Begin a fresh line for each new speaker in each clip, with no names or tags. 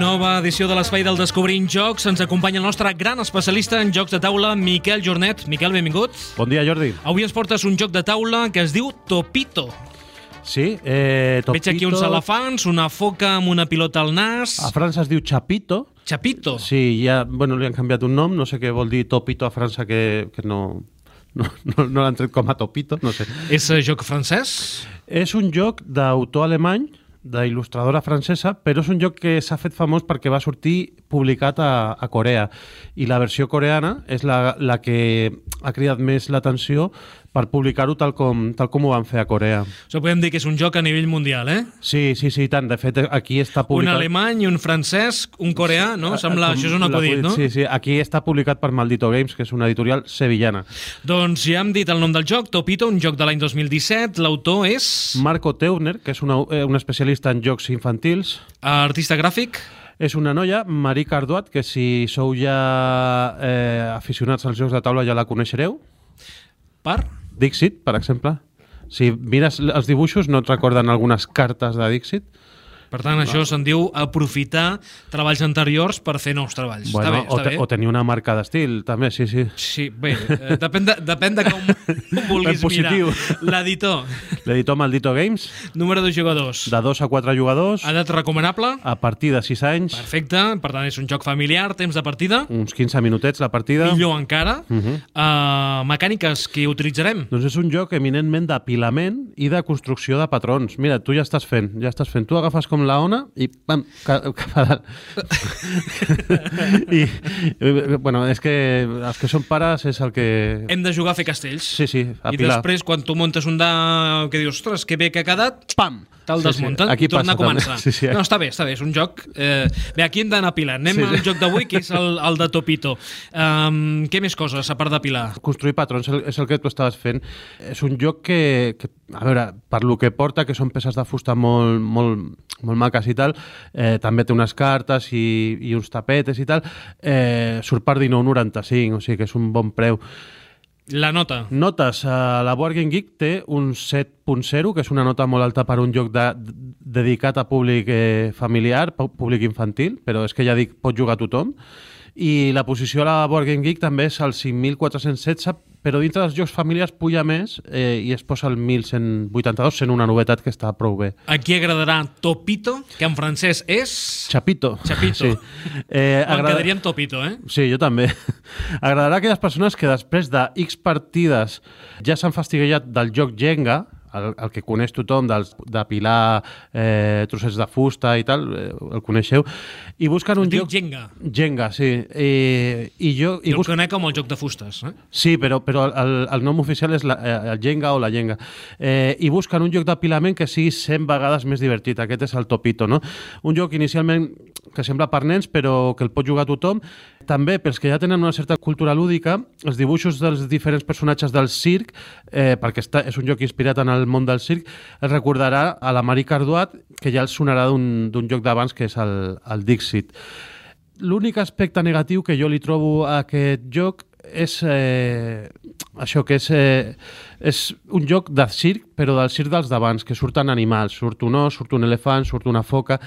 Nova edició de l'Espai del Descobrint Jocs. Ens acompanya el nostre gran especialista en jocs de taula, Miquel Jornet. Miquel, benvingut.
Bon dia, Jordi.
Avui ens portes un joc de taula que es diu Topito.
Sí, eh, Topito...
Veig aquí uns elefants, una foca amb una pilota al nas...
A França es diu Chapito.
Chapito.
Sí, ja, bueno, li han canviat un nom, no sé què vol dir Topito a França, que, que no, no, no, no l'han tret com a Topito, no sé.
És eh, joc francès?
És un joc d'autor alemany, d'il·lustradora francesa, però és un joc que s'ha fet famós perquè va sortir publicat a, a Corea. I la versió coreana és la, la que ha cridat més l'atenció per publicar-ho tal, com, tal com ho van fer a Corea.
Això podem dir que és un joc a nivell mundial, eh?
Sí, sí, sí, i tant. De fet, aquí està
Un
publicat... Eh,
alemany, un francès, un coreà, no? Sembla,
Com
això és un acudit,
l'acudit,
no?
Sí, sí. Aquí està publicat per Maldito Games, que és una editorial sevillana.
Doncs ja hem dit el nom del joc, Topito, un joc de l'any 2017. L'autor és
Marco Teuner, que és una, eh, un especialista en jocs infantils,
artista gràfic.
és una noia, Marie Carduat, que si sou ja eh, aficionats als jocs de taula ja la coneixereu.
Per?
Dixit, per exemple. Si mires els dibuixos, no et recorden algunes cartes de Dixit?
Per tant, això se'n diu aprofitar treballs anteriors per fer nous treballs. està bé,
o,
està
te-
bé.
o tenir una marca d'estil, també, sí, sí.
Sí, bé, eh, depèn, de, depèn de com ho vulguis
En positiu.
mirar. L'editor,
L'editor Maldito Games,
número de jugadors,
de 2 a 4 jugadors,
edat recomanable,
a partir de 6 anys,
perfecte, per tant és un joc familiar, temps de partida,
uns 15 minutets la partida.
millor encara, uh
Mhm.
mecàniques que utilitzarem.
Doncs és un joc eminentment d'apilament i de construcció de patrons. Mira, tu ja estàs fent, ja estàs fent. Tu agafes com la ona i pam, ca- cap a dalt. I, eh, bueno, és que els que són pares és el que...
Hem de jugar a fer castells.
Sí, sí,
I
apilar.
després, quan tu muntes un de... que dius, ostres, que bé que ha quedat,
pam!
te'l sí, desmunten
sí.
sí.
Aquí
i torna a
passa, també.
començar.
Sí, sí,
No, està bé, està bé, és un joc... Eh, bé, aquí hem d'anar pilant. Anem
Sí,
sí,
sí.
al joc d'avui, que és el, el de Topito. Um, què més coses, a part de pilar?
construir patrons el- és el que tu estaves fent. És un joc que, que a veure, per lo que porta, que són peces de fusta molt, molt, molt maques i tal, eh, també té unes cartes i, i uns tapetes i tal, eh, surt per 19,95, o sigui que és un bon preu.
La nota.
Notes, eh, la Board Game Geek té un 7.0, que és una nota molt alta per un joc de, dedicat a públic eh, familiar, pu- públic infantil, però és que ja dic, pot jugar tothom. I la posició a la Board Game Geek també és el 5.416, però dintre dels jocs familiars puja més eh, i es posa el 1.182, sent una novetat que està prou bé.
A qui agradarà Topito, que en francès és...
Chapito.
Chapito.
Eh,
Em
agrada-
quedaria amb Topito, eh?
Sí, jo també. Agradarà a aquelles persones que després de X partides ja s'han fastiguejat del joc Jenga, el, el que coneix tothom, dels, de pilar, eh, trossets de fusta i tal, eh, el coneixeu, i busquen un
Diu
joc...
Jenga.
Jenga, sí. Eh, I, jo,
Jo
i
el
busquen...
conec com el joc de fustes, eh?
Sí, però, però el, el nom oficial és la, eh, el Jenga o la Jenga. Eh, I busquen un joc d'apilament que sigui 100 vegades més divertit. Aquest és el Topito, no? Un joc inicialment que sembla per nens, però que el pot jugar tothom. També, pels que ja tenen una certa cultura lúdica, els dibuixos dels diferents personatges del circ, eh, perquè està, és un joc inspirat en el món del circ, es recordarà a la Marie Carduat, que ja els sonarà d'un d'un joc d'abans, que és el, el Dixit. L'únic aspecte negatiu que jo li trobo a aquest joc és eh, això, que és, eh, és un joc de circ, però del circ dels d'abans, que surten animals, surt un os, surt un elefant, surt una foca...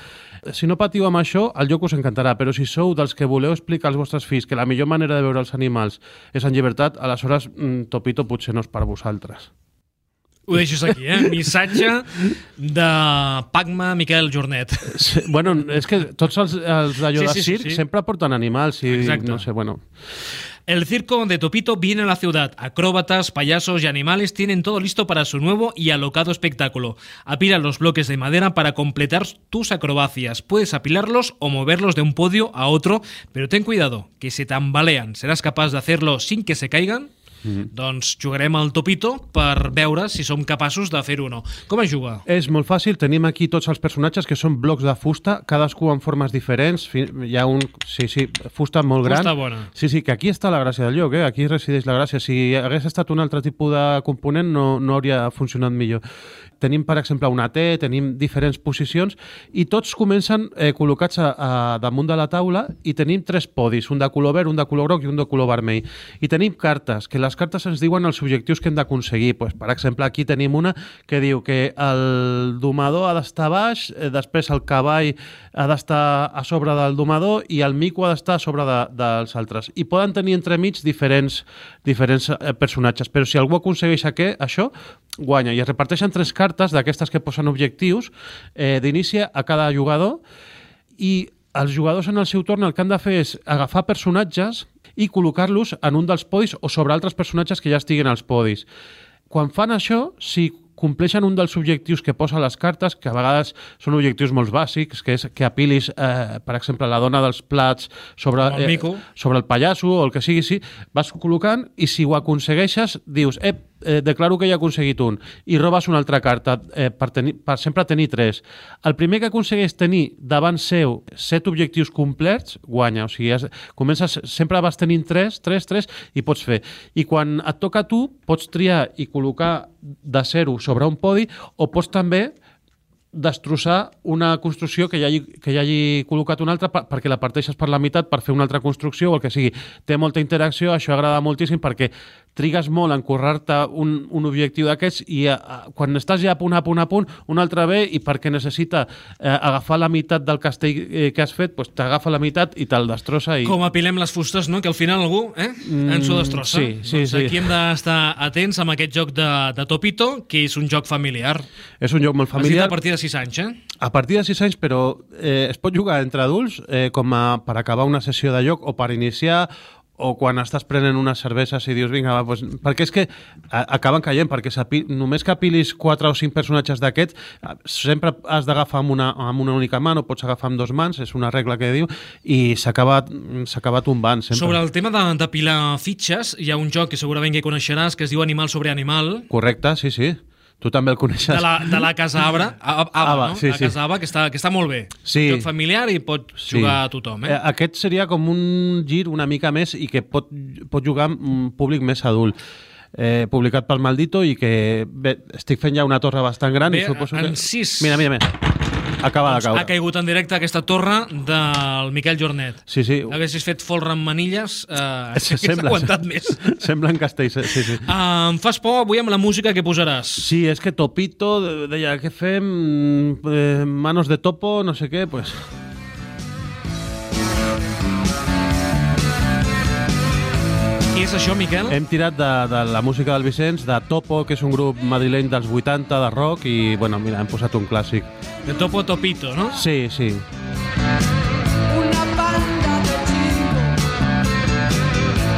Si no patiu amb això, el joc us encantarà, però si sou dels que voleu explicar als vostres fills que la millor manera de veure els animals és en llibertat, aleshores mm, Topito potser no és per vosaltres.
Ho deixes aquí, eh? Missatge de Pacma Miquel Jornet.
Sí, bueno, és que tots els, els d'allò
Sí,
sí,
sí,
de
sí,
circ
sí.
sempre porten animals i
Exacte.
no sé, bueno...
El circo de Topito viene a la ciudad. Acróbatas, payasos y animales tienen todo listo para su nuevo y alocado espectáculo. Apila los bloques de madera para completar tus acrobacias. Puedes apilarlos o moverlos de un podio a otro, pero ten cuidado, que se tambalean. ¿Serás capaz de hacerlo sin que se caigan? Doncs jugarem al Topito per veure si som capaços de fer-ho o no. Com es juga?
És molt fàcil, tenim aquí tots els personatges que són blocs de fusta, cadascú en formes diferents, fi- hi ha un... Sí, sí, fusta molt gran.
Fusta bona.
Sí, sí, que aquí està la gràcia del lloc, eh? aquí resideix la gràcia. Si hagués estat un altre tipus de component no, no hauria funcionat millor. Tenim, per exemple, una T, tenim diferents posicions i tots comencen eh, col·locats a, a, damunt de la taula i tenim tres podis, un de color verd, un de color groc i un de color vermell. I tenim cartes, que les les cartes ens diuen els objectius que hem d'aconseguir. Pues, per exemple, aquí tenim una que diu que el domador ha d'estar baix, eh, després el cavall ha d'estar a sobre del domador i el mico ha d'estar a sobre de, dels altres. I poden tenir entremig diferents, diferents eh, personatges, però si algú aconsegueix aqu això, guanya. I es reparteixen tres cartes d'aquestes que posen objectius eh, d'inici a cada jugador i els jugadors en el seu torn el que han de fer és agafar personatges i col·locar-los en un dels podis o sobre altres personatges que ja estiguin als podis. Quan fan això, si compleixen un dels objectius que posa les cartes, que a vegades són objectius molt bàsics, que és que apilis, eh, per exemple, la dona dels plats sobre,
Com el mico.
eh, sobre el pallasso o el que sigui, sí, vas col·locant i si ho aconsegueixes, dius, ep, eh, declaro que ja he aconseguit un, i robes una altra carta eh, per, tenir, per sempre tenir tres. El primer que aconsegueix tenir davant seu set objectius complets, guanya. O sigui, has, comences, sempre vas tenint tres, tres, tres, i pots fer. I quan et toca a tu, pots triar i col·locar de zero sobre un podi o pots també destrossar una construcció que ja hagi, que ja hagi col·locat una altra per, perquè la parteixes per la meitat per fer una altra construcció o el que sigui. Té molta interacció, això agrada moltíssim perquè trigues molt en currar-te un, un objectiu d'aquests i a, a, quan estàs ja a punt, a punt, a punt, un altre ve i perquè necessita eh, agafar la meitat del castell eh, que has fet, doncs t'agafa la meitat i te'l destrossa. I...
Com apilem les fustes, no? Que al final algú eh, ens ho destrossa.
Mm, sí, sí,
doncs
sí.
aquí hem d'estar atents amb aquest joc de, de Topito, que és un joc familiar.
És un joc molt
Familiar.
familiar.
a partir de 6 anys, eh?
A partir de 6 anys, però eh, es pot jugar entre adults eh, com a, per acabar una sessió de lloc o per iniciar o quan estàs prenent unes cerveses i dius, vinga, va, pues, perquè és que a, acaben caient, perquè s'api- només que apilis 4 o 5 personatges d'aquests, eh, sempre has d'agafar amb, una, amb una única mà, no pots agafar amb dos mans, és una regla que diu, i s'acaba s'acaba tombant sempre.
Sobre el tema de- d'apilar fitxes, hi ha un joc que segurament que coneixeràs que es diu Animal sobre Animal,
Correcte, sí, sí. Tu també el coneixes.
de la, de la Casa Abra, a- a- Ava,
Ava,
no?
sí,
la
sí.
Casa Ava, que està, que està molt bé.
Sí.
Joc familiar i pot jugar a tothom, eh?
Aquest seria com un gir una mica més i que pot, pot jugar amb un públic més adult. Eh, publicat pel Maldito i que bé, estic fent ja una torre bastant gran
Bé,
i suposo
en
que...
sis. Doncs
Mira, mira, mira. Acaba de
Ha
caure.
caigut en directe aquesta torre del Miquel Jornet.
Sí, sí.
Haguessis fet folre amb manilles, eh,
Se-
hagués
sembla-
aguantat més.
Sembla en castell, sí, sí.
Ah, em fas por avui amb la música que posaràs.
Sí, és que Topito de- deia, què fem? Eh, manos de topo, no sé què, pues...
Què és això, Miquel?
Hem tirat de, de la música del Vicenç, de Topo, que és un grup madrileny dels 80, de rock, i, bueno, mira, hem posat un clàssic.
De Topo Topito, no?
Sí, sí.
Una banda de chicos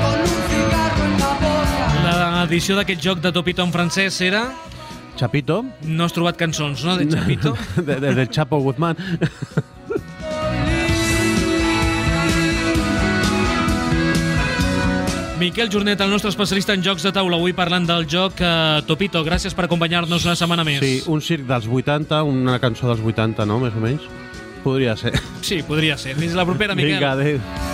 con un cigarro en la boca.
L'edició d'aquest joc de Topito en francès era...
Chapito,
No has trobat cançons, no, de Chapito?
de, de, del Chapo Guzmán.
Miquel Jornet, el nostre especialista en jocs de taula, avui parlant del joc eh, Topito. Gràcies per acompanyar-nos una setmana més.
Sí, un circ dels 80, una cançó dels 80, no? Més o menys. Podria ser.
sí podria ser. Fins la propera, Miquel.
Vinga, adéu.